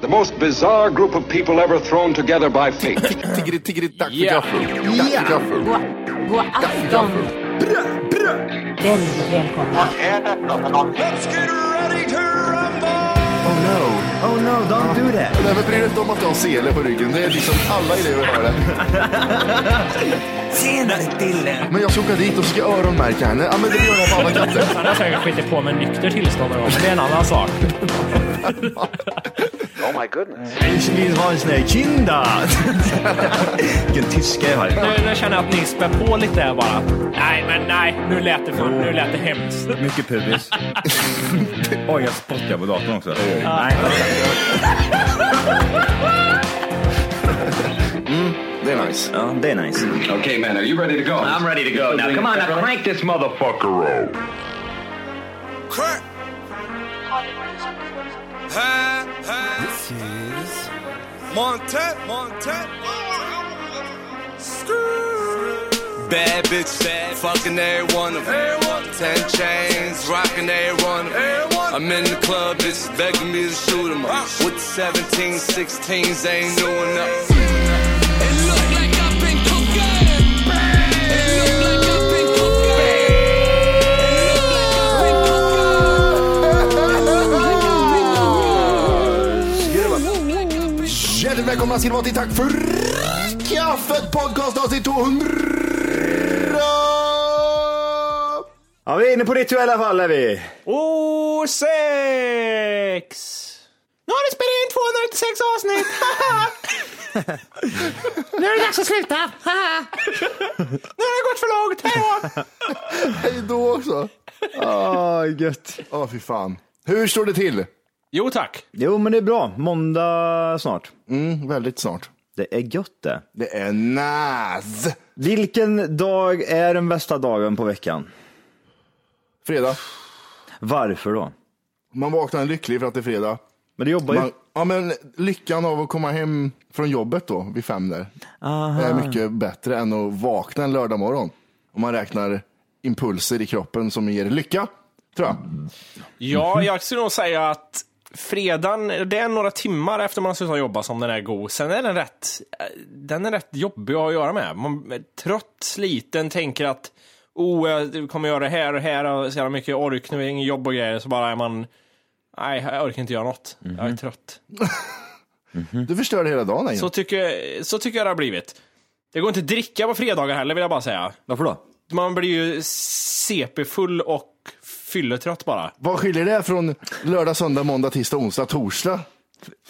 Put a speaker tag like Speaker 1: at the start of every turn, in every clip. Speaker 1: The most bizarre group of people ever thrown together by fate.
Speaker 2: Tiggeri, tiggeri, dack för
Speaker 3: Ja.
Speaker 2: gaffel. Dack för gaffel.
Speaker 4: God afton! Väldigt välkomna.
Speaker 5: Oh no, oh no, don't do that.
Speaker 2: Nej, men bry dig inte om att du har sele på ryggen. Det är liksom alla elever har det.
Speaker 5: Tjenare Dille!
Speaker 2: Men jag ska åka dit och ska öronmärka henne. Ja, men det gör jag på alla katter.
Speaker 3: Han har säkert skitit på med nykter tillstånd någon gång, men det är en annan sak.
Speaker 5: Ich vill ha en sån här kinda! Vilken tyska jag har.
Speaker 3: Nu, nu känner jag att ni spär på lite här bara. Nej, men nej. Nu lät det, för, nu lät det hemskt.
Speaker 6: Mycket pubis. Oj, jag spottar på datorn också. Nej,
Speaker 2: Det är nice.
Speaker 6: ja, det är nice.
Speaker 1: okay, man, are you ready to go? I'm ready to go. Now, come on, now crank this motherfucker up.
Speaker 7: Bad bitch, bad, fucking every one of 'em. Ten chains, rocking every one of 'em. I'm in the club, bitches begging me to shoot 'em up. With the 17, 16s, they ain't doing nothing. It look like I've been cocaine. It look like I've been cocaine. It look like I've been
Speaker 2: Hjärtligt välkomna ska ni vara till Tack för kaffet podcast avsnitt 200.
Speaker 5: Ja, vi är inne på rituella fall är vi.
Speaker 3: Oh, sex! Nu har du spelat in 296 avsnitt! nu är det dags att sluta! nu har det gått för långt, hejdå!
Speaker 2: Hej då också.
Speaker 5: Åh, gött.
Speaker 2: Ja, fy fan. Hur står det till?
Speaker 3: Jo tack.
Speaker 5: Jo, men det är bra. Måndag snart.
Speaker 2: Mm, väldigt snart.
Speaker 5: Det är gött det.
Speaker 2: Det är nice.
Speaker 5: Vilken dag är den bästa dagen på veckan?
Speaker 2: Fredag.
Speaker 5: Varför då?
Speaker 2: Man vaknar lycklig för att det är fredag.
Speaker 5: Men du jobbar ju.
Speaker 2: Man, ja, men lyckan av att komma hem från jobbet då, vid fem där, är mycket bättre än att vakna en lördag morgon. Om man räknar impulser i kroppen som ger lycka, tror jag.
Speaker 8: Ja,
Speaker 5: Mhm.
Speaker 8: jag skulle nog säga att fredagen, det är några timmar efter man slutar jobba som den är god. Sen är den rätt, eh, den är rätt jobbig att göra med. Man är trött, sliten, tänker att oh, jag kommer göra det här och här och så jävla mycket ork, nu är det ingen jobb och grejer. Så bara är man, nej, jag orkar inte göra något. Jag
Speaker 5: Mhm.
Speaker 8: är trött.
Speaker 2: Du förstörde hela dagen. Egentligen.
Speaker 8: Så tycker, så tycker jag det har blivit. Det går inte att dricka på fredagar heller vill jag bara säga.
Speaker 5: Varför då?
Speaker 8: Man blir ju CP-full och fylletrött bara.
Speaker 2: Vad skiljer det från lördag, söndag, måndag, tisdag, onsdag, torsdag?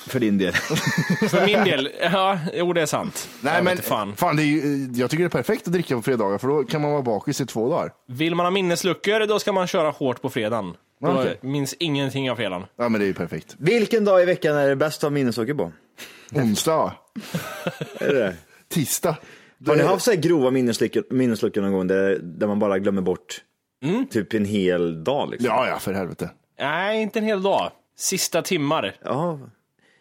Speaker 5: För din del.
Speaker 8: För min del, ja, jo det är sant.
Speaker 2: Nej,
Speaker 8: jag
Speaker 2: men
Speaker 8: vet inte fan.
Speaker 2: det är ju, eh, jag tycker det är perfekt att dricka på fredagar för då kan man vara bakis i två dagar.
Speaker 8: Vill man ha minnesluckor, då ska man köra hårt på fredagen. Då
Speaker 2: Okej.
Speaker 8: minns ingenting av fredagen.
Speaker 2: Ja, men det är ju perfekt.
Speaker 5: Vilken dag i veckan är det bäst att ha minnessocker på?
Speaker 2: Onsdag,
Speaker 5: Är det?
Speaker 2: tisdag.
Speaker 5: Har ni haft så här grova minnesluckor, minnesluckor någon gång där, där man bara glömmer bort typ en hel dag? Liksom?
Speaker 2: Ja, ja, för helvete.
Speaker 8: Nej, inte en hel dag. Sista timmar.
Speaker 5: Ja.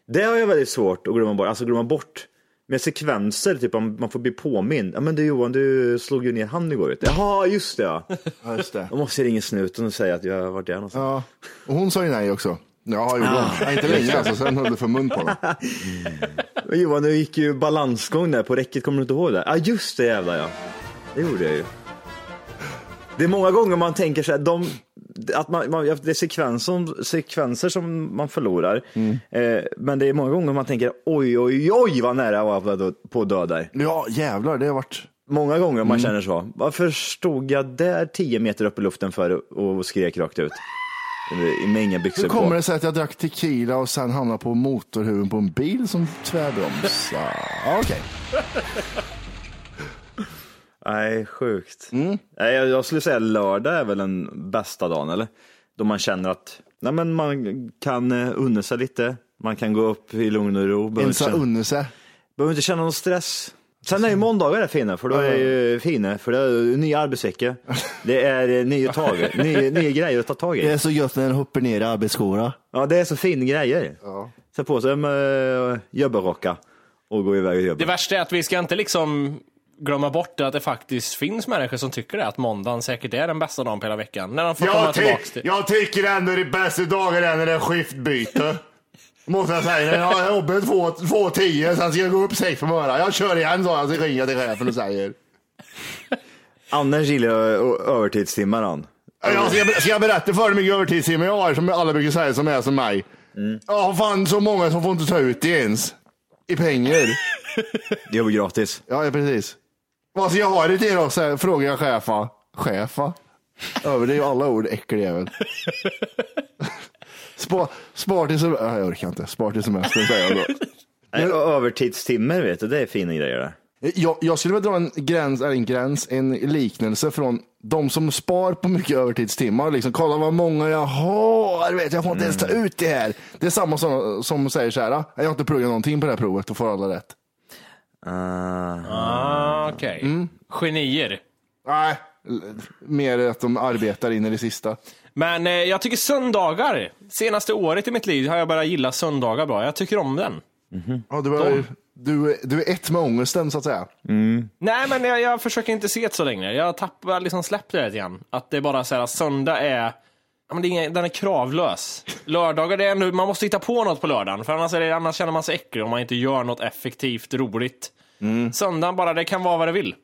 Speaker 5: Det har jag väldigt svårt att glömma bort. Alltså glömma bort med sekvenser, typ om man får bli påmind. Ja men du Johan, du slog ju ner han igår vet du. Jaha, just det ja.
Speaker 2: Ja, just det.
Speaker 5: Då måste jag ringa snuten och säga att jag har varit där någonstans.
Speaker 2: Ja, och hon sa ju nej också. Ja, gjorde hon. Nej, inte länge alltså, sen höll du för mun på honom.
Speaker 5: Men Johan, du gick ju balansgång där på räcket, kommer du inte ihåg det? Ja just det jävlar ja. Det gjorde jag ju. Det är många gånger man tänker så här, de att man, man, det är sekvenser, sekvenser som man förlorar. Eh, men det är många gånger man tänker oj, oj, oj vad nära jag var på att dö där.
Speaker 2: Ja, jävlar, det har varit...
Speaker 5: Många gånger
Speaker 2: Mm.
Speaker 5: man känner så. Varför stod jag där 10 meter upp i luften för och skrek rakt ut? Med inga byxor
Speaker 2: Hur kommer
Speaker 5: på.
Speaker 2: det sig att jag drack tequila och sen hamnade på motorhuven på en bil som tvärbromsade? Ja, Okej.
Speaker 5: Nej, sjukt.
Speaker 2: Mm.
Speaker 5: Nej, jag, jag skulle säga lördag är väl den bästa dagen, eller? Då man känner att nej, men man kan eh, unna sig lite. Man kan gå upp i lugn och ro. Behöver,
Speaker 2: Ensa
Speaker 5: känna,
Speaker 2: unne sig.
Speaker 5: behöver inte känna någon stress. Sen är ju måndagar det fina, för då är ju fina, för det är nya arbetsvecka. Det är eh, nya tag, nya, nya grejer att ta tag
Speaker 9: Det är
Speaker 5: i.
Speaker 9: så gött när den hoppar ner i arbetsskora.
Speaker 5: Ja, det är så fina grejer. Sätt på sig en uh, jobbarocka och gå iväg och jobba.
Speaker 8: Det värsta är att vi ska inte liksom glömma bort att det faktiskt finns människor som tycker det, att måndagen säkert är den bästa dagen på hela veckan. När de får komma
Speaker 10: Jag, ty
Speaker 8: tillbaka till...
Speaker 10: jag tycker ändå det bästa dagen är när det är skiftbyte. Måste jag säga. Jag har jobbat två, två tio, sen ska jag gå upp sex på morgonen. Jag kör igen sa jag, så ringer jag till chefen och säger.
Speaker 8: Mm.
Speaker 5: Annars gillar jag eh, övertidstimmar. han.
Speaker 10: Jag ska, jag- ska jag berätta för dig hur mycket övertidstimmar jag har, som alla brukar säga som är som mig?
Speaker 8: Mm.
Speaker 10: Jag har fan så många som får inte ta ut det ens. I pengar.
Speaker 5: Det jobbar gratis.
Speaker 2: Ja, ja, precis.
Speaker 10: Alltså jag har det till då, så här,
Speaker 2: Frågar jag chefa. Chefa? Över det är ju alla ord äckeljävel. Spar, spar till semestern. Jag orkar inte. Spar till semestern säger jag då.
Speaker 5: Nej, övertidstimmar vet du, det är fina grejer det.
Speaker 2: Jag, jag skulle vilja dra en gräns, eller en gräns, en liknelse från de som spar på mycket övertidstimmar. Liksom, kolla vad många jag har, vet, jag får inte ens ta ut det här. Det är samma som, som säger så här, "Ah, jag har inte pluggat någonting på det här provet och får alla rätt.
Speaker 8: Ah, okej.
Speaker 2: Mm.
Speaker 8: Genier.
Speaker 2: Nej. Mer att de arbetar in i det sista.
Speaker 8: Men eh, jag tycker söndagar, senaste året i mitt liv har jag börjat gilla söndagar bra. Jag tycker om den.
Speaker 2: Ja, du, är, du, du är ett med ångesten så att säga.
Speaker 8: Nej, men jag, jag försöker inte se det så länge. Jag tappar liksom släppte det lite grann. Att det är bara så här, söndag är... Ja, men det är ingen, den är kravlös. Lördagar, det är ändå, man måste hitta på något på lördagen. För annars, är det, annars känner man sig äcklig om man inte gör något effektivt, roligt. Söndagen bara, det kan vara vad det vill.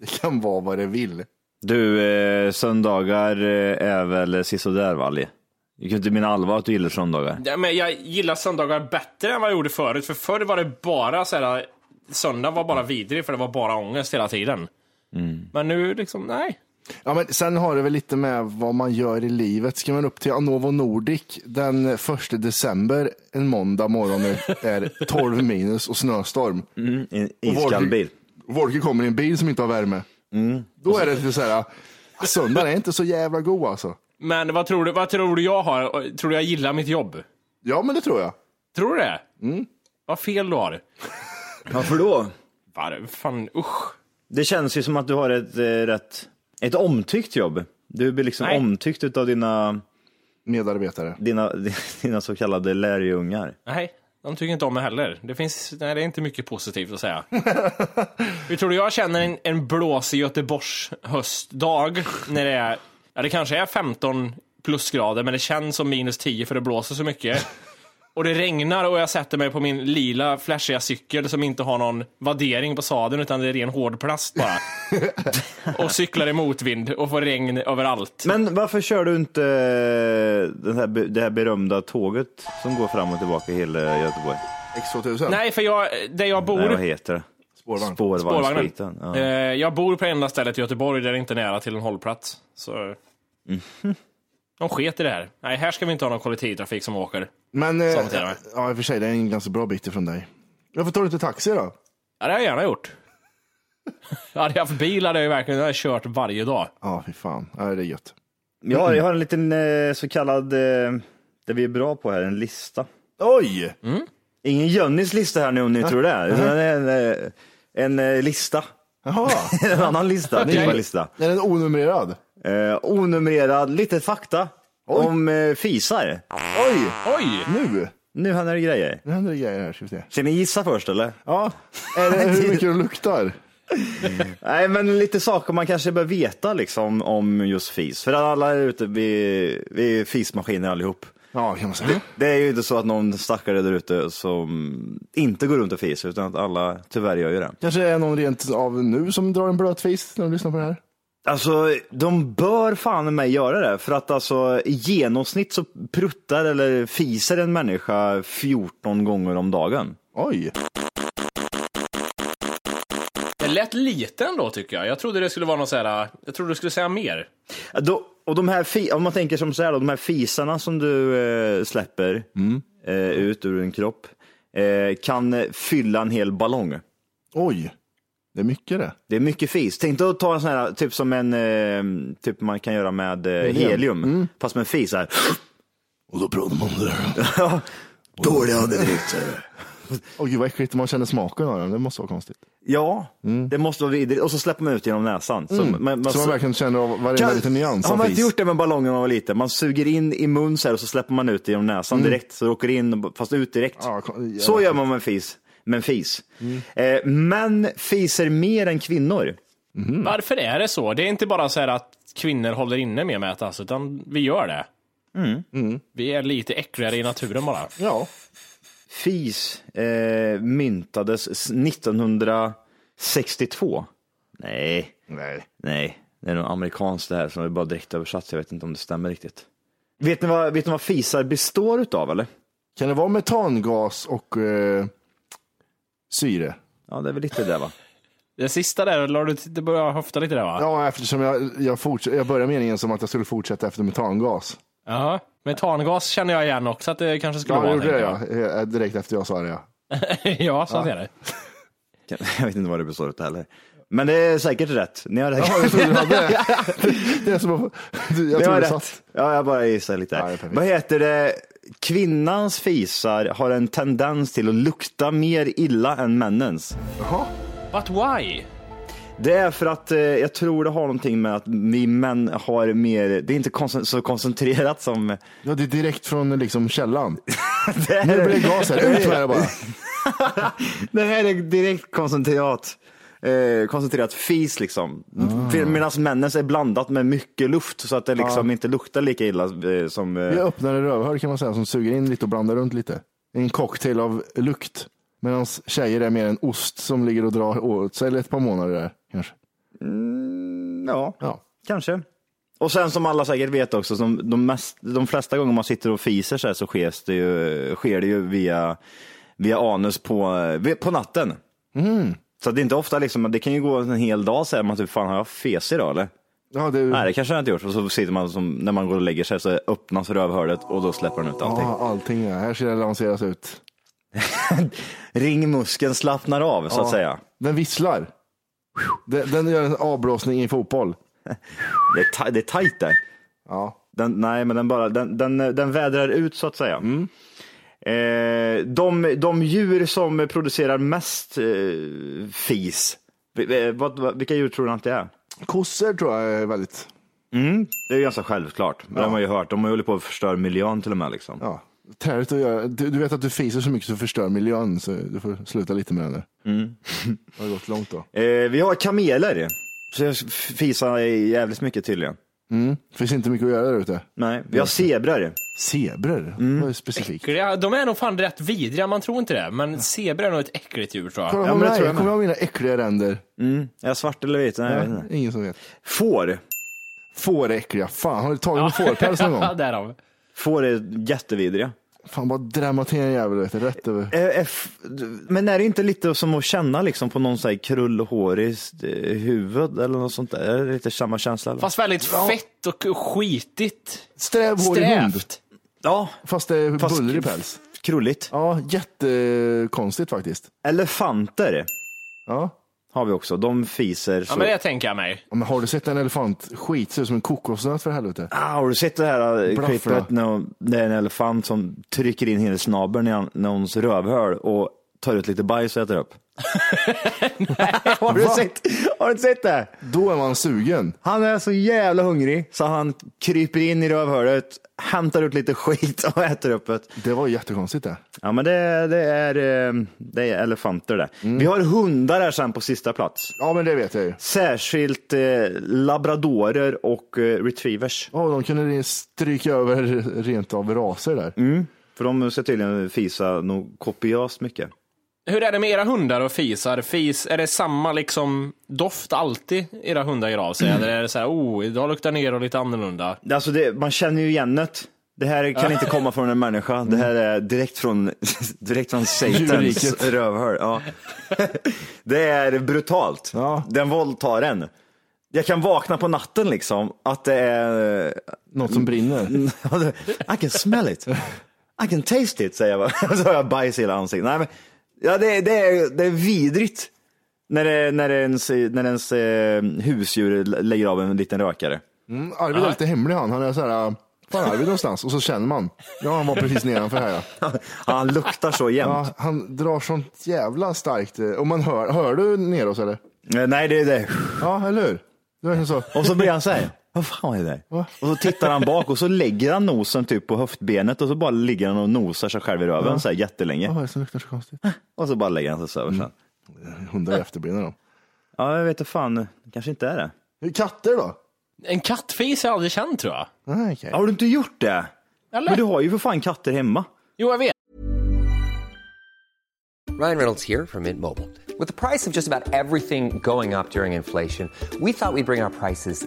Speaker 2: Det kan vara vad det vill.
Speaker 5: Du, eh, söndagar eh, är väl sisådär Valle? Du kan inte mena allvar att du gillar söndagar.
Speaker 8: Ja, men jag gillar söndagar bättre än vad jag gjorde förut. För förr var det bara så här... Söndagen var bara vidrig för det var bara ångest hela tiden. Men nu liksom, nej.
Speaker 2: Ja, men sen har det väl lite med vad man gör i livet. Ska man upp till Anovo Nordic den 1 december, en måndag morgon, är- är 12 minus och snöstorm.
Speaker 5: Mm, en
Speaker 2: Och
Speaker 5: iskall bil.
Speaker 2: Volker kommer i en bil som inte har värme. Då är det lite så här, "Ah, söndagen är inte så jävla god alltså.
Speaker 8: Men vad tror du, vad tror du jag har? Tror du jag gillar mitt jobb?
Speaker 2: Ja, men det tror jag.
Speaker 8: Tror du det? Vad fel du har.
Speaker 5: Varför då?
Speaker 8: Var, fan, usch.
Speaker 5: Det känns ju som att du har ett eh, rätt, ett omtyckt jobb. Du blir liksom
Speaker 8: Nej.
Speaker 5: omtyckt utav dina,
Speaker 2: Medarbetare.
Speaker 5: dina, dina så kallade lärjungar.
Speaker 8: Nej, de tycker inte om mig heller. Det finns, nej, det är inte mycket positivt att säga. Hur tror du jag känner en, en blåsig Göteborgs höstdag när det är, ja det kanske är 15 plusgrader, men det känns som minus 10 för det blåser så mycket. Och det regnar och jag sätter mig på min lila flashiga cykel som inte har någon vaddering på sadeln utan det är ren hård plast bara. och cyklar i motvind och får regn överallt.
Speaker 5: Men varför kör du inte eh, den här, be- det här berömda tåget som går fram och tillbaka i hela Göteborg?
Speaker 2: X2000.
Speaker 8: Nej, för jag, där jag bor...
Speaker 5: Nej, vad heter det?
Speaker 2: Spårvagn.
Speaker 8: Spårvagnen.
Speaker 5: Spårvagnsskiten. Ja.
Speaker 8: Eh, jag bor på enda stället i Göteborg där det inte är nära till en hållplats. Så...
Speaker 5: Mhm.
Speaker 8: De sket i det här. Nej, här ska vi inte ha någon kollektivtrafik som åker.
Speaker 2: Men, eh,
Speaker 8: Sånt är det.
Speaker 2: ja i och för sig, det är en ganska bra bit ifrån dig. Varför tar du inte taxi då?
Speaker 8: Ja, det har jag gärna gjort. hade jag haft bil hade jag ju verkligen jag hade kört varje dag.
Speaker 2: Ja, fy fan. Ja, det är gött.
Speaker 5: Jag har, jag har en liten eh, så kallad, eh, det vi är bra på här, en lista.
Speaker 2: Oj!
Speaker 5: Ingen Jonnys lista här nu om ni tror det. Är. utan En, eh, en eh, lista.
Speaker 2: Jaha,
Speaker 5: en annan lista.
Speaker 2: Okej.
Speaker 5: Okay. Typ av lista.
Speaker 2: är den onumrerad?
Speaker 5: Eh, onumrerad, lite fakta om eh, fisar.
Speaker 2: Oj,
Speaker 8: Oj!
Speaker 2: nu!
Speaker 5: Nu händer det grejer.
Speaker 2: Nu händer det grejer här, ska vi se.
Speaker 5: Ska ni gissa först eller?
Speaker 2: Ja, är det, hur mycket det luktar?
Speaker 5: Nej, men lite saker man kanske bör veta liksom om just fis. För alla är ute, vi, vi är fismaskiner allihop.
Speaker 2: Ja, kan man säga.
Speaker 5: Det är ju inte så att någon stackare där ute som inte går runt och fiser, utan att alla tyvärr gör ju det.
Speaker 2: Kanske är någon rent av nu som drar en blöt fis när de lyssnar på det här.
Speaker 5: Alltså, de bör fan i mig göra det, för att alltså i genomsnitt så pruttar eller fiser en människa 14 gånger om dagen.
Speaker 2: Oj!
Speaker 8: Det lät lite ändå tycker jag. Jag trodde det skulle vara någon så här, jag trodde du skulle säga mer.
Speaker 5: Då, och de här, fi- om man tänker som så här då, de här fisarna som du eh, släpper
Speaker 2: Mm.
Speaker 5: eh, ut ur en kropp eh, kan eh, fylla en hel ballong.
Speaker 2: Oj, det är mycket det.
Speaker 5: Det är mycket fis. Tänk dig att ta en sån här, typ som en, eh, typ man kan göra med eh,
Speaker 2: Helium. Mm.
Speaker 5: helium, fast med en fis så här.
Speaker 2: Och då pratar man om det.
Speaker 5: Ja. Dålig andedräkt.
Speaker 2: Åh gud vad äckligt, man känner smaken av den. Det måste vara konstigt.
Speaker 5: Ja, det måste vara vidrigt. Och så släpper man ut genom näsan.
Speaker 2: Mm. Så man verkligen känner av varenda liten nyans
Speaker 5: Har
Speaker 2: av
Speaker 5: man
Speaker 2: fis.
Speaker 5: inte gjort det med ballongen när man var liten? Man suger in i mun så här och så släpper man ut det genom näsan
Speaker 2: Mm.
Speaker 5: direkt. Så det åker in, och- fast ut direkt. så gör man med fis. Med en fis.
Speaker 2: Mm.
Speaker 5: Eh, män fiser mer än kvinnor. Mm.
Speaker 8: Varför är det så? Det är inte bara så här att kvinnor håller inne med att alltså, utan vi gör det.
Speaker 5: Mm.
Speaker 8: Vi är lite äckligare i naturen bara.
Speaker 2: Ja.
Speaker 5: Fis eh, myntades s- 1962. Nej.
Speaker 2: Nej.
Speaker 5: Nej, det är nog amerikanskt det här som är bara direkt översatt. så Jag vet inte om det stämmer riktigt. Vet ni vad, vet ni vad fisar består utav eller?
Speaker 2: Kan det vara metangas och eh, syre?
Speaker 5: Ja, det är väl lite det va?
Speaker 8: Det sista där, la du, det började höfta lite där va?
Speaker 2: Ja, eftersom jag, jag, forts- jag började meningen som att jag skulle fortsätta efter metangas.
Speaker 8: Jaha. Metangas känner jag igen också att det kanske skulle
Speaker 2: Ja,
Speaker 8: vara.
Speaker 2: jag gjorde det
Speaker 8: tänker
Speaker 2: ja. Eh, Direkt efter jag sa det ja.
Speaker 8: jag. ja, så
Speaker 5: Ja.
Speaker 8: är det.
Speaker 5: Jag vet inte vad det består utav heller. Men det är säkert rätt. Ni har rätt.
Speaker 2: jag trodde du hade det. det är som att, du, jag
Speaker 5: Ni
Speaker 2: tror
Speaker 5: har
Speaker 2: du
Speaker 5: rätt.
Speaker 2: satt.
Speaker 5: Ja, jag bara gissar lite. här. vad heter det? Kvinnans fisar har en tendens till att lukta mer illa än männens.
Speaker 8: But why?
Speaker 5: Det är för att eh, jag tror det har någonting med att vi män har mer, det är inte koncen- så koncentrerat som...
Speaker 2: Ja, det är direkt från liksom källan.
Speaker 5: det
Speaker 2: Nu blir det gas här, ut med det bara.
Speaker 5: Det här är direkt koncentrerat, eh, koncentrerat fis liksom. Medan männens är blandat med mycket luft så att det liksom
Speaker 2: Ah. Ja.
Speaker 5: inte luktar lika illa eh, som... eh,
Speaker 2: Vi öppnar rövhål kan man säga som suger in lite och blandar runt lite. En cocktail av lukt. Medan tjejer är mer en ost som ligger och drar åt sig eller ett par månader där kanske.
Speaker 5: Ja, kanske. Och sen som alla säkert vet också, som de, mest, de flesta gånger man sitter och fiser så, här, så sker det ju, sker det ju via, via anus på, eh, på natten. Så det är inte ofta, liksom, men det kan ju gå en hel dag så här, man typ, fan har jag fes idag eller?
Speaker 2: Ja, det...
Speaker 5: Nej, det kanske jag inte gjort. Och så sitter man, som, när man går och lägger sig, så öppnas rövhålet och då släpper den ut allting.
Speaker 2: Ja, allting. Ja. Här ska det lanseras ut.
Speaker 5: Ringmuskeln slappnar av, så att
Speaker 2: Ja.
Speaker 5: säga.
Speaker 2: Den visslar. Den, den gör en avblåsning i fotboll.
Speaker 5: Det är, ta- det är tajt där.
Speaker 2: Ja.
Speaker 5: Den, nej, men den, bara, den, den, den vädrar ut så att säga. Eh, de, de djur som producerar mest eh, fis, vi- eh, vad, vad, vilka djur tror du att det är?
Speaker 2: Kossor tror jag är väldigt...
Speaker 5: Mm, det är ju ganska självklart. Det har man ju hört. De håller på att förstöra miljön till och med. Liksom.
Speaker 2: Ja. Träligt att göra. Du, du vet att du fiser så mycket så du förstör miljön så du får sluta lite med det nu.
Speaker 5: Mm.
Speaker 2: Det har gått långt då.
Speaker 5: Eh, vi har kameler. Så jag fisar jävligt mycket tydligen.
Speaker 2: Mm. Finns inte mycket att göra där ute.
Speaker 5: Nej, vi har zebror.
Speaker 2: Zebror? Mm. Vad specifikt.
Speaker 8: Äckliga. De är nog fan rätt vidriga, man tror inte det. Men zebra är nog ett äckligt djur tror jag.
Speaker 2: Kolla på mig, jag, kommer ha mina äckliga ränder.
Speaker 5: Mm. Är jag svart eller vit? Nej, jag vet
Speaker 2: Nej,
Speaker 5: inte.
Speaker 2: ingen som vet.
Speaker 5: Får.
Speaker 2: Får är äckliga. Fan, har du tagit en fårpäls någon gång?
Speaker 8: Därav.
Speaker 5: Får är jättevidriga.
Speaker 2: Fan, bara drämma till en jävel vet du, rätt över.
Speaker 5: Eh, eh, f- Men är det inte lite som att känna liksom på någon så här krullhårig eh, huvud eller något sånt där? Är det lite samma känsla? Eller?
Speaker 8: Fast väldigt fett och skitigt.
Speaker 2: Strävhårig hund.
Speaker 8: Strävt.
Speaker 5: Ja.
Speaker 2: Fast det är
Speaker 5: Fast
Speaker 2: bullrig
Speaker 5: k-
Speaker 2: päls.
Speaker 5: Krulligt.
Speaker 2: Ja, jättekonstigt faktiskt.
Speaker 5: Elefanter
Speaker 2: Ja.
Speaker 5: har vi också. De fiser.
Speaker 8: Ja,
Speaker 5: Så...
Speaker 8: men det tänker jag mig.
Speaker 2: Ja, Men har du sett en elefant? Skit, ser ut som en kokosnöt för helvete.
Speaker 5: ah, har du sett det här eh,
Speaker 2: Blaffa.
Speaker 5: klippet när hon- det är en elefant som trycker in hela snabeln i han- någons rövhål och tar ut lite bajs och äter upp? har, du
Speaker 2: Va?
Speaker 5: sett, har du inte sett det?
Speaker 2: Då är man sugen.
Speaker 5: Han är så jävla hungrig så han kryper in i rövhålet, hämtar ut lite skit och äter upp det.
Speaker 2: Det var jättekonstigt det.
Speaker 5: Ja, men det, det, är, eh, det är elefanter det. Vi har hundar här sen på sista plats.
Speaker 2: Ja, men det vet jag ju.
Speaker 5: Särskilt eh, labradorer och eh, retrievers.
Speaker 2: Ja, de kunde stryka över rent av raser där.
Speaker 5: För de ska tydligen fisa nog kopiöst mycket.
Speaker 8: Hur är det med era hundar och fisar? Fis, är det samma liksom doft alltid era hundar gör av sig? Eller är det så här, oh, idag luktar ner och lite annorlunda?
Speaker 5: Alltså det, man känner ju igen det. Det här kan inte komma från en människa. Det här är direkt från, direkt från Satans
Speaker 8: Djurriket.
Speaker 5: rövhål. Ja. Det är brutalt. Den våldtar en. Jag kan vakna på natten liksom, att det är...
Speaker 2: Något som
Speaker 5: Mm.
Speaker 2: brinner?
Speaker 5: I can smell it. I can taste it, säger jag bara. Så har jag bajs i hela ansiktet. Nej, men, ja, det, det, är, det är vidrigt när, det, när, ens, när ens eh, husdjur lägger av en liten rökare.
Speaker 2: Mm, Arvid är lite hemlig han. Han är så här, var är Arvid någonstans? Och så känner man, ja han var precis nedanför här ja.
Speaker 5: Han luktar så jämt.
Speaker 2: Ja, han drar sånt jävla starkt. eh, Och man hör, hör du neråt eller?
Speaker 5: Eh, Nej, det är det.
Speaker 2: Ja, eller hur? Det är så.
Speaker 5: Och så blir han så här, vad fan är det? Och så tittar han bak och så lägger han nosen typ på höftbenet och så bara ligger han och nosar sig själv i röven
Speaker 2: Ja.
Speaker 5: så här jättelänge.
Speaker 2: Vad är det som luktar så konstigt?
Speaker 5: Och så bara lägger han sig och sover sen.
Speaker 2: Hundar är efterblivna de.
Speaker 5: Ja, jag vet inte fan, det kanske inte är det.
Speaker 2: Katter då?
Speaker 8: En kattfis har jag aldrig känt tror jag.
Speaker 2: Nej, okej.
Speaker 5: Har du inte gjort det?
Speaker 8: Eller?
Speaker 5: Men du har ju för fan katter hemma.
Speaker 8: Jo, jag vet.
Speaker 11: Ryan Reynolds here from Mint Mobile. With the price of just about everything going up during inflation, we thought we'd bring our prices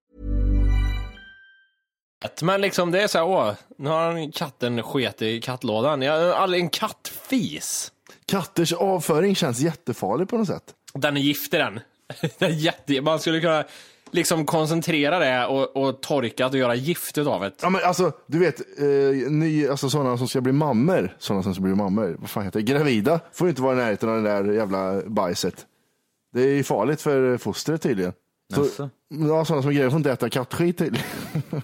Speaker 8: Men liksom det är så här, åh, nu har han katten sket i kattlådan. Jag har aldrig en kattfis.
Speaker 2: Katters avföring känns jättefarlig på något sätt.
Speaker 8: Den är giftig den. den är jätte... Man skulle kunna liksom koncentrera det och, och torka det och göra gift av det.
Speaker 2: Ja, men alltså, du vet, eh, ny, alltså sådana som ska bli mammor, sådana som ska bli mammor, vad fan heter det, gravida, får ju inte vara i närheten av det där jävla bajset. Det är ju farligt för fostret tydligen. Så,
Speaker 5: Jaså?
Speaker 2: ja, sådana som är grejer får inte äta kattskit tydligen.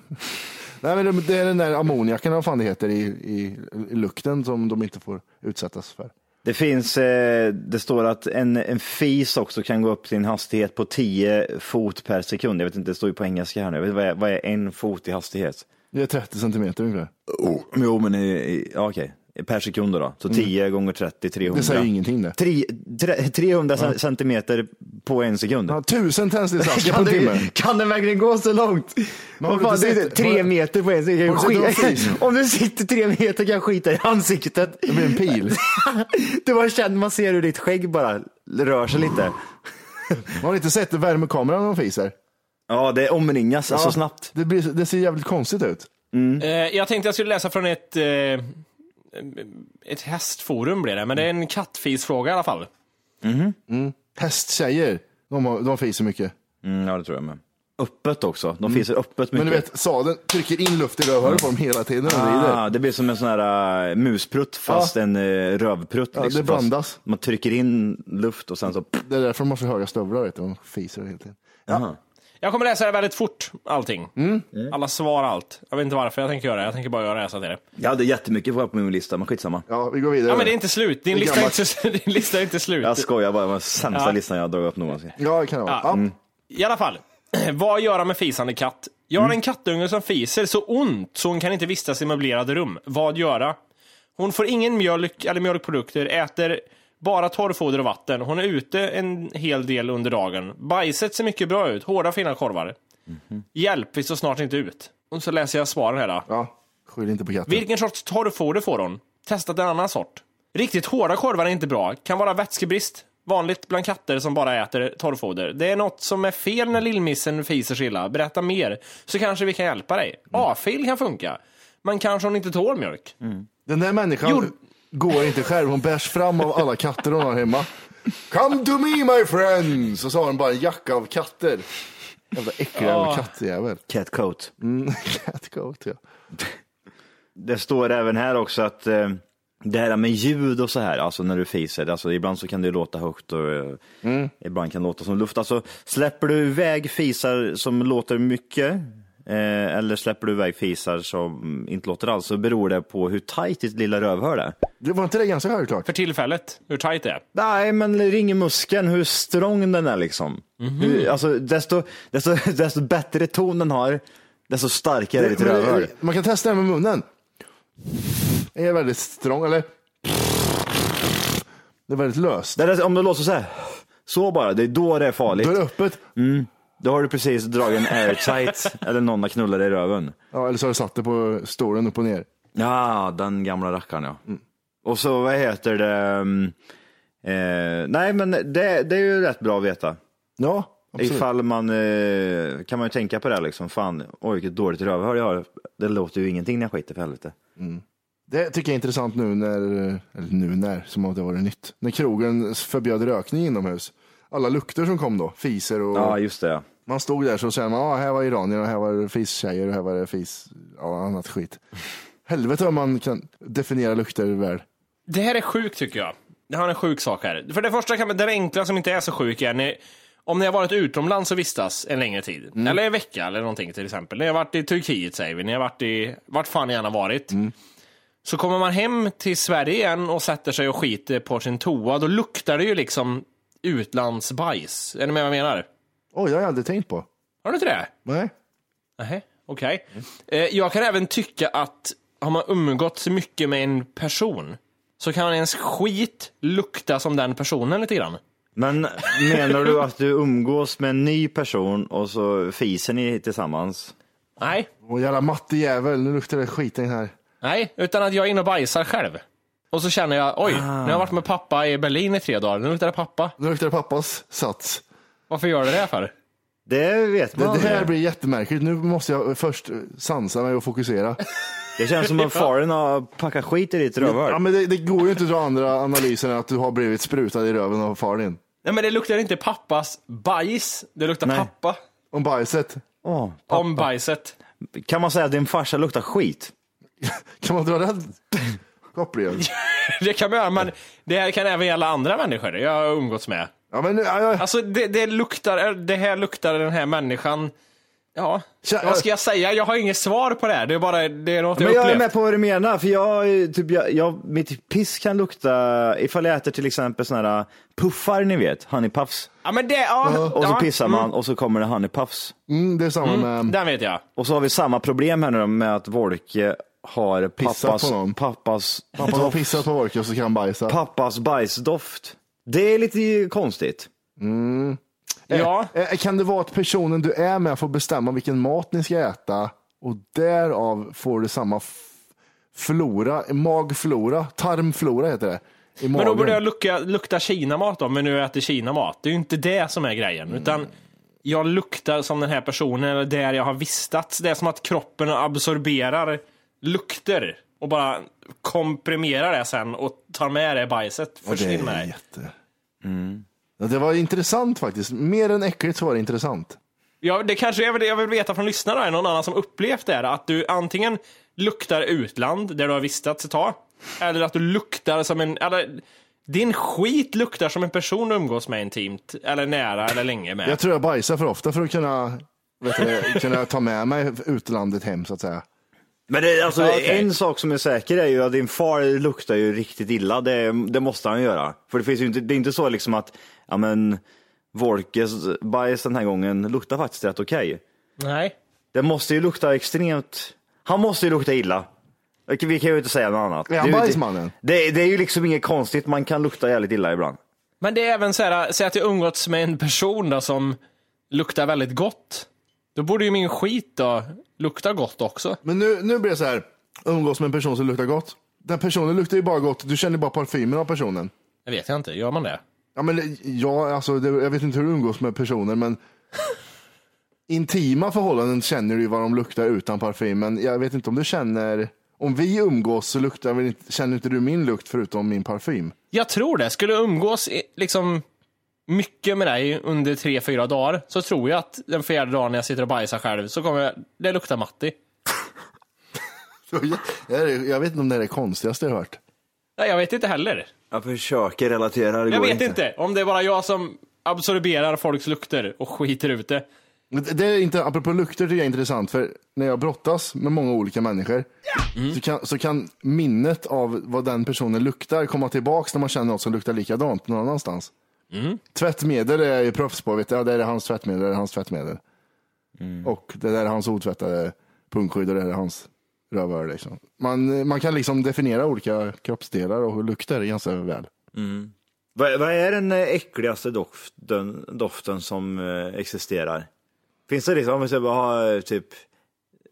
Speaker 2: Nej, men det, det är den där ammoniaken, vad fan det heter, i, i, i lukten som de inte får utsättas för.
Speaker 5: Det finns, eh, det står att en, en fis också kan gå upp till en hastighet på 10 fot per sekund. Jag vet inte, det står ju på engelska här nu. Jag vet inte, Vad är, vad är en fot i hastighet?
Speaker 2: Det är 30 centimeter ungefär.
Speaker 5: Oh, jo, men i- i- ja, okej. Per sekund då, då. Så 10 gånger 30, 300.
Speaker 2: Mm. Det säger ju ingenting det.
Speaker 5: Tre, tre, 300
Speaker 2: Ja.
Speaker 5: cen- centimeter på en sekund.
Speaker 2: Ja, tusen tändsticksaskar på en
Speaker 5: Kan det-
Speaker 2: timme.
Speaker 5: Kan den verkligen gå så långt?
Speaker 2: Men har
Speaker 5: Vad
Speaker 2: du
Speaker 5: fan,
Speaker 2: inte
Speaker 5: det är
Speaker 2: sett-
Speaker 5: inte tre
Speaker 2: har-
Speaker 5: meter på en sekund.
Speaker 2: Har du sett
Speaker 5: Skit-
Speaker 2: någon film?
Speaker 5: Om du sitter tre meter kan jag skita i ansiktet.
Speaker 2: Det blir en pil.
Speaker 5: Du bara känner, man ser hur ditt skägg bara rör sig lite.
Speaker 2: Har ni inte sett värmekameran när de fiser?
Speaker 5: Ja, det omringas
Speaker 2: Ja,
Speaker 5: så snabbt.
Speaker 2: Det, blir, det ser jävligt konstigt ut.
Speaker 8: Eh, Jag tänkte jag skulle läsa från ett, eh, ett hästforum blir det, men det är en kattfisfråga i alla fall.
Speaker 2: Mm. Hästtjejer, de, har, de fiser mycket.
Speaker 5: Mm, ja, det tror jag med. Öppet också. De fiser öppet mycket.
Speaker 2: Mm. Men du vet, sadeln trycker in luft i rövhålet på dem hela tiden när de rider.
Speaker 5: Ah, det blir som en sån här äh, musprutt fast en äh, rövprutt.
Speaker 2: Ja,
Speaker 5: liksom,
Speaker 2: det blandas.
Speaker 5: Fast Man trycker in luft och sen så...
Speaker 2: Det är därför de har så höga stövlar, vet du. de fiser hela tiden.
Speaker 5: Ja.
Speaker 8: Jag kommer läsa det väldigt fort, allting.
Speaker 2: Mm.
Speaker 8: Alla svar, allt. Jag vet inte varför jag tänker göra det, jag tänker bara göra det. Så att det är. det.
Speaker 5: Jag hade jättemycket kvar på min lista, men skitsamma.
Speaker 2: Ja, vi går vidare.
Speaker 8: Ja, men det är inte slut. Din,
Speaker 2: Det är
Speaker 8: lista är
Speaker 2: gammalt.
Speaker 8: inte, slut. din lista är inte slut.
Speaker 5: Jag skojar bara, det var den sämsta
Speaker 8: Ja.
Speaker 5: listan jag har dragit upp någonsin.
Speaker 2: Ja, det kan det vara. Ja.
Speaker 8: Mm. I alla fall, vad göra med fisande katt? Jag har en kattunge som fiser så ont så hon kan inte vistas i möblerade rum. Vad göra? Hon får ingen mjölk eller mjölkprodukter, äter bara torrfoder och vatten. Hon är ute en hel del under dagen. Bajset ser mycket bra ut, hårda fina korvar. Hjälp, vi står snart inte ut. Och så läser jag svaren här. Då.
Speaker 2: Skyll inte på katten.
Speaker 8: Vilken sorts torrfoder får hon? Testat en annan sort. Riktigt hårda korvar är inte bra. Kan vara vätskebrist. Vanligt bland katter som bara äter torrfoder. Det är något som är fel när lillmissen fiser så illa. Berätta mer, så kanske vi kan hjälpa dig. A-fil kan funka. Men kanske hon inte tål mjölk.
Speaker 2: Den där människan går inte själv, hon bärs fram av alla katter hon har hemma. Come to me my friends! Och så har hon bara en jacka av katter. Jävla
Speaker 8: Ah.
Speaker 2: äckliga
Speaker 5: Ja.
Speaker 2: kattjävel.
Speaker 5: Catcoat.
Speaker 2: Mm, catcoat, ja.
Speaker 5: Det står även här också att eh, det här med ljud och så här, alltså när du fiser, alltså ibland så kan det låta högt och eh,
Speaker 2: Mm.
Speaker 5: ibland kan det låta som luft. Alltså släpper du iväg fisar som låter mycket eh, eller släpper du iväg fisar som inte låter alls så beror det på hur tajt ditt lilla rövhål är.
Speaker 2: Det var inte det ganska självklart?
Speaker 8: För tillfället, hur tajt det är.
Speaker 5: Nej, men ring i muskeln, hur strong den är liksom.
Speaker 2: Mhm.
Speaker 5: Hur, alltså, desto, desto, desto bättre ton den har, desto starkare är ditt
Speaker 2: Men,
Speaker 5: rövhål.
Speaker 2: eh, Man kan testa det med munnen. Den är väldigt strong, eller? Det är väldigt löst.
Speaker 5: om det låter så här, så bara, det är då det är farligt. Då är det
Speaker 2: öppet.
Speaker 5: Mm. Då har du precis dragit en airtight eller någon har knullat dig i röven.
Speaker 2: Ja, eller så har du satt det på stolen upp och ner.
Speaker 5: Ja, den gamla rackaren ja.
Speaker 2: Mm.
Speaker 5: Och så vad heter det? mm, Eh, nej, men det, det är ju rätt bra att veta.
Speaker 2: Ja, absolut.
Speaker 5: Ifall man eh, kan man ju tänka på det här liksom, fan, oj vilket dåligt rövhål jag har. Det låter ju ingenting när jag skiter för helvete.
Speaker 2: Det tycker jag är intressant nu när, eller nu när, som om det var nytt, när krogen förbjöd rökning inomhus. Alla lukter som kom då, fiser och...
Speaker 5: Ja, just det. ja.
Speaker 2: Man stod där så säger man, ah, här var iranier och här var det fistjejer och här var det fis, ja, annat skit. Helvete vad man kan definiera lukter väl.
Speaker 8: Det här är sjukt tycker jag. Det här är en sjuk sak här. För det första kan man, den enkla som inte är så sjuk är ni, om ni har varit utomlands och vistas en längre tid. Eller en vecka eller någonting till exempel. Ni har varit i Turkiet säger vi, ni har varit i, vart fan ni än har varit. Så kommer man hem till Sverige igen och sätter sig och skiter på sin toa, då luktar det ju liksom utlandsbajs. Är ni med vad jag menar?
Speaker 2: Oj, det har jag aldrig tänkt på.
Speaker 8: Har du inte det?
Speaker 2: Nej.
Speaker 8: Nej, okej. Eh, Jag kan även tycka att har man umgåtts mycket med en person så kan ens skit lukta som den personen lite grann.
Speaker 5: Men menar du att du umgås med en ny person och så fiser ni tillsammans?
Speaker 8: Nej.
Speaker 2: Åh jävla mattejävel, nu luktar det skiten här.
Speaker 8: Nej, utan att jag är inne och bajsar själv. Och så känner jag, oj, nu har jag varit med pappa i Berlin i tre dagar, nu luktar det pappa.
Speaker 2: Nu luktar det pappas sats.
Speaker 8: Varför gör du det för?
Speaker 5: Det vet
Speaker 2: Det,
Speaker 5: man.
Speaker 2: det här blir jättemärkligt, nu måste jag först sansa mig och fokusera.
Speaker 5: Det känns som att faren har packat skit i ditt rövhål.
Speaker 2: Ja, men det, det går ju inte att dra andra analyser än att du har blivit sprutad i röven av far din.
Speaker 8: Nej men det luktar inte pappas bajs, det luktar pappa.
Speaker 2: Om bajset.
Speaker 5: Åh,
Speaker 8: Om bajset.
Speaker 5: Kan man säga att din farsa luktar skit?
Speaker 2: Kan man dra den kopplingen?
Speaker 8: det kan man göra, men det här kan även gälla andra människor jag har umgåtts med.
Speaker 2: Ja, men,
Speaker 8: Alltså det, det luktar, det här luktar den här människan. Ja, vad ska jag säga? Jag har inget svar på det här, det är bara det är något
Speaker 5: Men
Speaker 8: jag
Speaker 5: jag är
Speaker 8: upplevt.
Speaker 5: med på vad du menar, för jag, är typ, jag, jag, mitt piss kan lukta, ifall jag äter till exempel såna här puffar ni vet, honeypuffs.
Speaker 8: Ja men det, ja.
Speaker 5: Och så
Speaker 8: ja,
Speaker 5: pissar man
Speaker 8: mm.
Speaker 5: och så kommer det honeypuffs.
Speaker 2: Mm, det är samma med...
Speaker 8: Den vet jag.
Speaker 5: Och så har vi samma problem här nu då med att Wolke har
Speaker 2: Pissat
Speaker 5: pappas,
Speaker 2: på någon.
Speaker 5: pappas,
Speaker 2: Pappa har pissat på Wolke och så kan han bajsa.
Speaker 5: pappas bajsdoft. Det är lite konstigt.
Speaker 2: Mm.
Speaker 8: Ja.
Speaker 2: Eh, eh, Kan det vara att personen du är med får bestämma vilken mat ni ska äta och därav får du samma f- flora, magflora, tarmflora heter det. I
Speaker 8: Men då
Speaker 2: magen.
Speaker 8: borde jag lukta, lukta kinamat då, men nu äter kinamat. Det är ju inte det som är grejen, utan jag luktar som den här personen, eller där jag har vistats. Det är som att kroppen absorberar lukter och bara komprimerar det sen och tar med det bajset.
Speaker 2: Och det är
Speaker 8: Försvinner med det.
Speaker 2: jätte- Mm. Ja, Det var intressant faktiskt. Mer än äckligt så var det intressant.
Speaker 8: Ja, det kanske är det jag vill veta från lyssnarna, är någon annan som upplevt det här, att du antingen luktar utland, där du har vistats ett tag, eller att du luktar som en, eller din skit luktar som en person du umgås med intimt, eller nära, eller länge med.
Speaker 2: Jag tror jag bajsar för ofta för att kunna, vet du, kunna ta med mig utlandet hem så att säga.
Speaker 5: Men det, alltså,
Speaker 2: Ja, okej.
Speaker 5: en sak som är säker är ju att din far luktar ju riktigt illa. Det, det måste han göra. För det, finns ju inte, det är inte så liksom att ja, men, Wolkes bajs den här gången luktar faktiskt rätt okej.
Speaker 8: Nej.
Speaker 5: Det måste ju lukta extremt... Han måste ju lukta illa. Och Vi kan ju inte säga något annat.
Speaker 2: Är han
Speaker 5: Det ju-
Speaker 2: bajsmannen?
Speaker 5: Det, det är ju liksom inget konstigt. Man kan lukta jävligt illa ibland.
Speaker 8: Men det är även så här, säg att jag umgåtts med en person då som luktar väldigt gott. Då borde ju min skit då lukta gott också.
Speaker 2: Men nu, nu blir det så här, umgås med en person som luktar gott. Den personen luktar ju bara gott, du känner bara parfymen av personen.
Speaker 8: Det vet jag inte, gör man det?
Speaker 2: Ja, men jag, alltså, det, jag vet inte hur du umgås med personer, men intima förhållanden känner du ju vad de luktar utan parfym. Men jag vet inte om du känner, om vi umgås så luktar väl inte, känner inte du min lukt förutom min parfym.
Speaker 8: Jag tror det. Skulle jag umgås i, liksom mycket med dig under tre, fyra dagar så tror jag att den fjärde dagen när jag sitter och bajsar själv så kommer jag, det luktar Matti.
Speaker 2: Det här är- Jag vet inte om det här är det konstigaste jag har hört.
Speaker 8: Nej, jag vet inte heller.
Speaker 5: Jag försöker relatera, det
Speaker 8: Jag
Speaker 5: går
Speaker 8: vet inte. om det är bara jag som absorberar folks lukter och skiter ut det.
Speaker 2: Det- Det är inte, apropå lukter tycker jag är intressant, för när jag brottas med många olika människor så, kan, så kan minnet av vad den personen luktar komma tillbaks när man känner något som luktar likadant någon annanstans. Tvättmedel är jag ju proffs på, vet jag. Ja, det är hans tvättmedel, det är hans tvättmedel. Och det där är hans otvättade punkskydd och det där är hans rövhål. Liksom. Man, man kan liksom definiera olika kroppsdelar och lukter ganska väl.
Speaker 5: Mm. Vad, vad är den eh, äckligaste doften, doften som eh, existerar? Finns det liksom, om vi ska bara ha eh, typ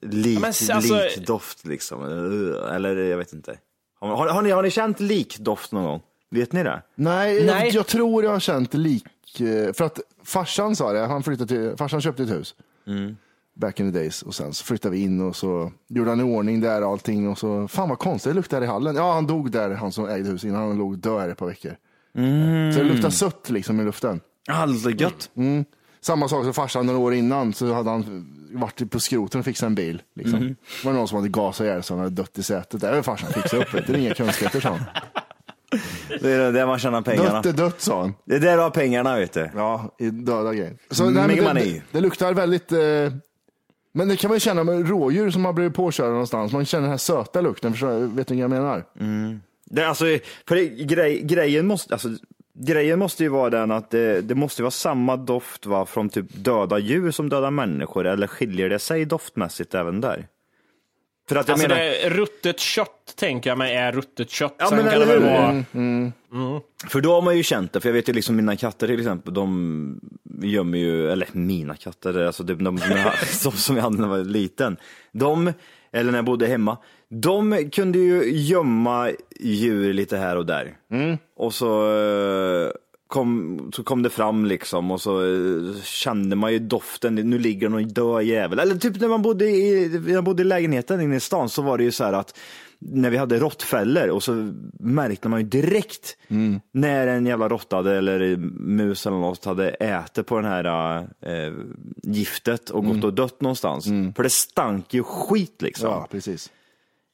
Speaker 5: lik,
Speaker 8: Ja, men s- alltså-
Speaker 5: likdoft liksom? Eh, Eller jag vet inte. Har, har, har, ni, har ni känt likdoft någon gång? Vet ni det?
Speaker 2: Nej,
Speaker 5: Nej.
Speaker 2: Jag, jag tror jag har känt lik... eh, För att farsan sa det, han flyttade till, farsan köpte ett hus
Speaker 5: Mm.
Speaker 2: back in the days och sen så flyttade vi in och så gjorde han i ordning där och allting och så, fan vad konstigt det luktar i hallen. Ja, han dog där, han som ägde huset innan, han låg död i ett par veckor.
Speaker 5: Mm.
Speaker 2: Så det luktar sött liksom i luften.
Speaker 5: Aldrig gött.
Speaker 2: Mm. Samma sak som farsan några år innan så hade han varit på skroten och fixat en bil. Liksom.
Speaker 5: Mhm.
Speaker 2: Det var någon som hade gasat ihjäl sig och han hade dött i sätet. Det är farsan fixade upp det, det är inga konstigheter sa han.
Speaker 5: Det är där man tjänar pengarna.
Speaker 2: Dött är dött sa han.
Speaker 5: Det är där du har pengarna vet du.
Speaker 2: Ja, i döda grejer. Så,
Speaker 5: Så,
Speaker 2: nej, men
Speaker 5: Make
Speaker 2: det,
Speaker 5: money.
Speaker 2: det, det luktar väldigt... Eh, men det kan man ju känna med rådjur som har blivit påkörda någonstans. Man känner den här söta lukten. Förstår, jag? vet ni vad jag menar?
Speaker 5: Det, alltså, för det, grej, grejen, måste, alltså, grejen måste ju vara den att det, det måste vara samma doft va, från typ döda djur som döda människor, eller skiljer det sig doftmässigt även där? För att jag
Speaker 8: alltså
Speaker 5: menar,
Speaker 8: det, ruttet kött tänker jag mig är ruttet kött.
Speaker 5: Ja,
Speaker 8: Sen
Speaker 5: men
Speaker 8: kan det
Speaker 5: eller
Speaker 8: väl
Speaker 5: hur?
Speaker 8: vara...
Speaker 5: Mm, för då har man ju känt det, för jag vet ju liksom mina katter till exempel, de gömmer ju, eller mina katter, alltså de, de, som jag- som, som jag hade när jag var liten, de, eller när jag bodde hemma, de kunde ju gömma djur lite här och där. Och så eh, kom, så kom det fram liksom och så eh, kände man ju doften, nu ligger någon död jävel. Eller typ när man bodde i, när jag bodde i lägenheten inne i stan så var det ju så här att när vi hade råttfällor och så märkte man ju direkt när en jävla råtta hade- eller mus eller något hade ätit på den här eh, giftet och gått och dött någonstans. För det stank ju skit liksom.
Speaker 2: Ja, precis.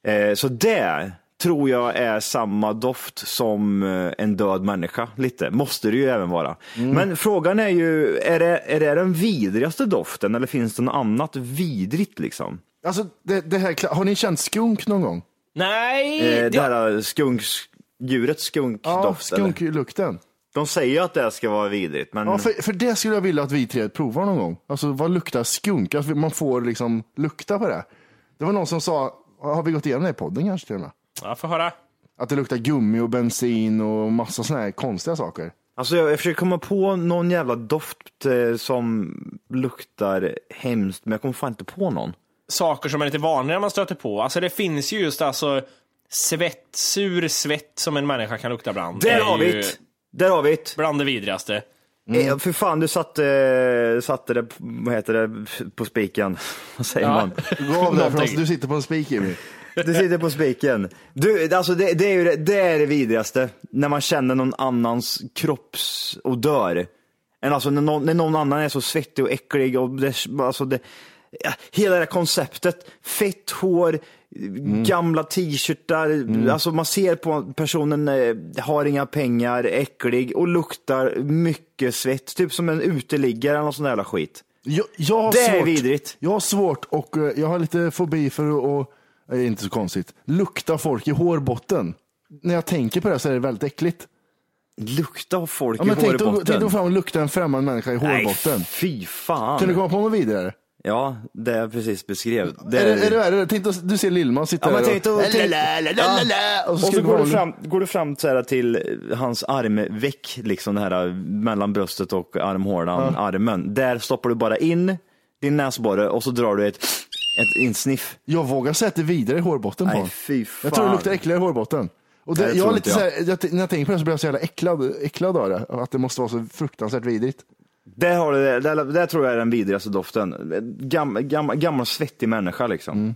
Speaker 5: Eh, Så det tror jag är samma doft som eh, en död människa. Lite, måste det ju även vara. Men frågan är ju, är det, är det den vidrigaste doften eller finns det något annat vidrigt liksom?
Speaker 2: Alltså, det, det här, har ni känt skunk någon gång?
Speaker 8: Nej!
Speaker 5: Eh, Det här skunk, djurets
Speaker 2: Ja,
Speaker 5: skunkdoft. eller? Mm.
Speaker 2: skunklukten.
Speaker 5: De säger ju att det ska vara vidrigt, men
Speaker 2: Ja, för, för det skulle jag vilja att vi tre provar någon gång. Alltså, vad luktar skunk? Alltså, man får liksom lukta på det. Det var någon som sa, har vi gått igenom det i podden kanske till och med?
Speaker 8: Ja, får höra.
Speaker 2: Att det luktar gummi och bensin och massa sådana här konstiga saker.
Speaker 5: Alltså jag, jag försöker komma på någon jävla doft eh, som luktar hemskt, men jag kommer fan inte på någon.
Speaker 8: Saker som är lite vanligare man stöter på. Alltså det finns ju just alltså svett, sur svett som en människa kan lukta bland.
Speaker 5: Där
Speaker 8: är
Speaker 5: har vi
Speaker 8: ju
Speaker 5: det! Där har vi det!
Speaker 8: Bland det vidrigaste.
Speaker 5: Eh, För fan, du satte, satte det, vad heter det, på spiken. Vad säger
Speaker 2: Ja.
Speaker 5: man?
Speaker 2: Gå av därifrån, du sitter på en spik Jimmy.
Speaker 5: Du sitter på spiken. Du, alltså det, det är ju det, det, är det vidrigaste, när man känner någon annans kroppsodör. Än alltså när någon, när någon annan är så svettig och äcklig. Och det, alltså det, ja, hela det här konceptet, fett hår,
Speaker 2: Mm.
Speaker 5: gamla t-shirtar. Alltså man ser på personen, eh, har inga pengar, äcklig och luktar mycket svett. Typ som en uteliggare eller någon sån där jävla skit.
Speaker 2: Jag, jag har
Speaker 5: Det är
Speaker 2: svårt,
Speaker 5: vidrigt.
Speaker 2: Jag har svårt och eh, jag har lite fobi för att, och, det är inte så konstigt, lukta folk i hårbotten. När jag tänker på det så är det väldigt äckligt.
Speaker 5: Lukta av folk
Speaker 2: Ja, men
Speaker 5: i
Speaker 2: tänk dig
Speaker 5: hårbotten.
Speaker 2: tänk dig att gå fram och lukta en främmande människa i hårbotten.
Speaker 5: Nej, fy fan.
Speaker 2: Kan du komma på något vidare?
Speaker 5: Ja, det jag precis beskrev. Det
Speaker 2: Är det, är det värre? Tänk dig att du ser Lill-Man sitta
Speaker 5: Ja, men
Speaker 2: där
Speaker 5: tänk dig att-
Speaker 2: Ja.
Speaker 5: Och så,
Speaker 2: ska
Speaker 5: går,
Speaker 2: gå
Speaker 5: du fram, går du fram så här till eh, hans armveck, liksom det här mellan bröstet och armhålan, armen. Där stoppar du bara in din näsborre och så drar du ett, ett insniff.
Speaker 2: Jag vågar säga att det är vidare i hårbotten på
Speaker 5: Nej,
Speaker 2: honom.
Speaker 5: fy fan.
Speaker 2: Jag tror det luktar äckligare i hårbotten. Och
Speaker 5: Nej,
Speaker 2: det,
Speaker 5: det
Speaker 2: jag
Speaker 5: tror
Speaker 2: är lite
Speaker 5: inte
Speaker 2: så
Speaker 5: jag.
Speaker 2: här, jag, när jag tänker på det så blir jag så jävla äcklad, äcklad av det. Att det måste vara så fruktansvärt vidrigt.
Speaker 5: Där, har du, det. där, där tror jag är den vidrigaste doften. Gam, gam, gammal svettig människa liksom.
Speaker 2: Mm.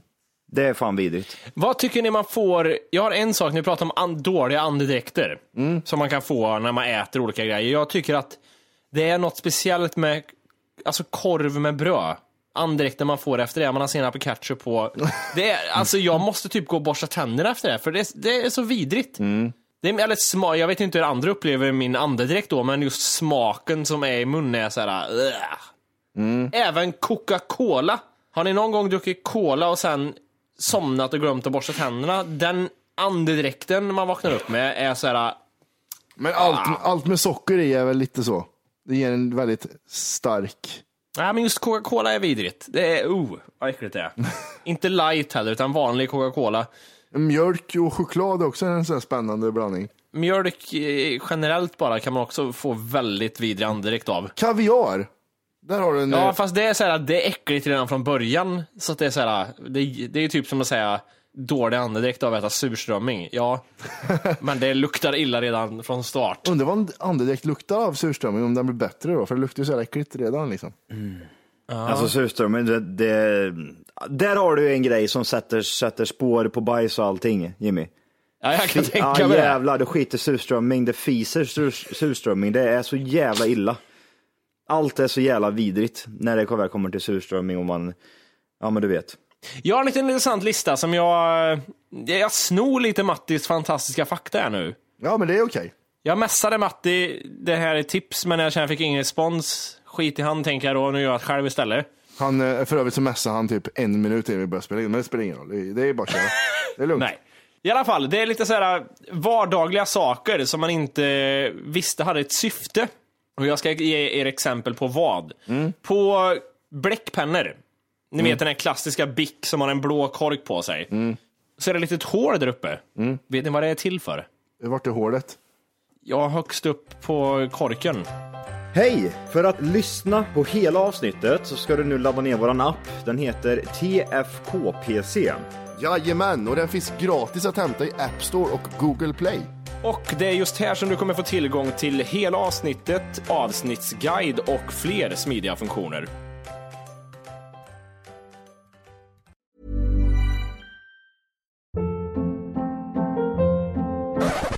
Speaker 5: Det är fan vidrigt.
Speaker 8: Vad tycker ni man får? Jag har en sak, ni pratar om an, dåliga andedräkter som man kan få när man äter olika grejer. Jag tycker att Det är något speciellt med alltså korv med bröd. Andedräkten man får efter det, man har senap och ketchup på. Det är, alltså jag måste typ gå och borsta tänderna efter det, för det, är- det är så vidrigt. Det är, eller sma, jag vet inte hur andra upplever min andedräkt då, men just smaken som är i munnen är såhär... Även Coca-Cola. Har ni någon gång druckit cola och sen somnat och glömt att borsta tänderna? Den andedräkten man vaknar upp med är såhär...
Speaker 2: Men allt, allt med socker i är väl lite så. Det ger en väldigt stark...
Speaker 8: Nej, men just Coca-Cola är vidrigt. Det är... Oh, vad äckligt det är. Inte light heller, utan vanlig Coca-Cola.
Speaker 2: Mjölk och choklad är också en sån här spännande blandning.
Speaker 8: Mjölk eh, generellt bara kan man också få väldigt vidrig andedräkt av.
Speaker 2: Kaviar. Där har du en... eh,
Speaker 8: Ja, fast det är så här, det är äckligt redan från början. Så att det är så här, det, det är typ som att säga dålig andedräkt av att äta surströmming. Ja, men det luktar illa redan från start.
Speaker 2: Undrar vad en andedräkt luktar av surströmming, om den blir bättre då? För det luktar ju så här äckligt redan liksom.
Speaker 5: Alltså surströmming, det, det, där har du en grej som sätter, sätter spår på bajs och allting, Jimmy.
Speaker 8: Ja, jag kan
Speaker 5: Fy-
Speaker 8: tänka
Speaker 5: ah,
Speaker 8: mig det.
Speaker 5: jävlar, det skiter surströmming, det fiser sur, surströmming, det är så jävla illa. Allt är så jävla vidrigt när det väl kommer till surströmming och man, ja men du vet.
Speaker 8: Jag har en liten intressant lista som jag... eh, Jag snor lite Mattis fantastiska fakta här nu.
Speaker 2: Ja, men det är okej.
Speaker 8: Jag messade Matti, det här är tips, men jag känner jag fick ingen respons. Skit i han tänker jag då, nu gör jag det själv istället.
Speaker 2: Han, eh, för övrigt så messade han typ en minut innan vi började spela in, men det spelar ingen roll. Det är- Det är bara att köra. Det är lugnt.
Speaker 8: Nej. I alla fall, det är lite så här eh, vardagliga saker som man inte visste hade ett syfte. Och jag ska ge er exempel på vad. På bläckpennor. Ni vet den här klassiska Bic som har en blå kork på sig. Så är det ett litet hål där uppe. Vet ni vad det är till för?
Speaker 2: Vart är hålet?
Speaker 8: Ja, högst upp på korken.
Speaker 5: Hej! För att lyssna på hela avsnittet så ska du nu ladda ner våran app. Den heter TFKPC.
Speaker 2: Jajamän, och den finns gratis att hämta i App Store och Google Play.
Speaker 8: Och det är just här som du kommer få tillgång till hela avsnittet, avsnittsguide och fler smidiga funktioner.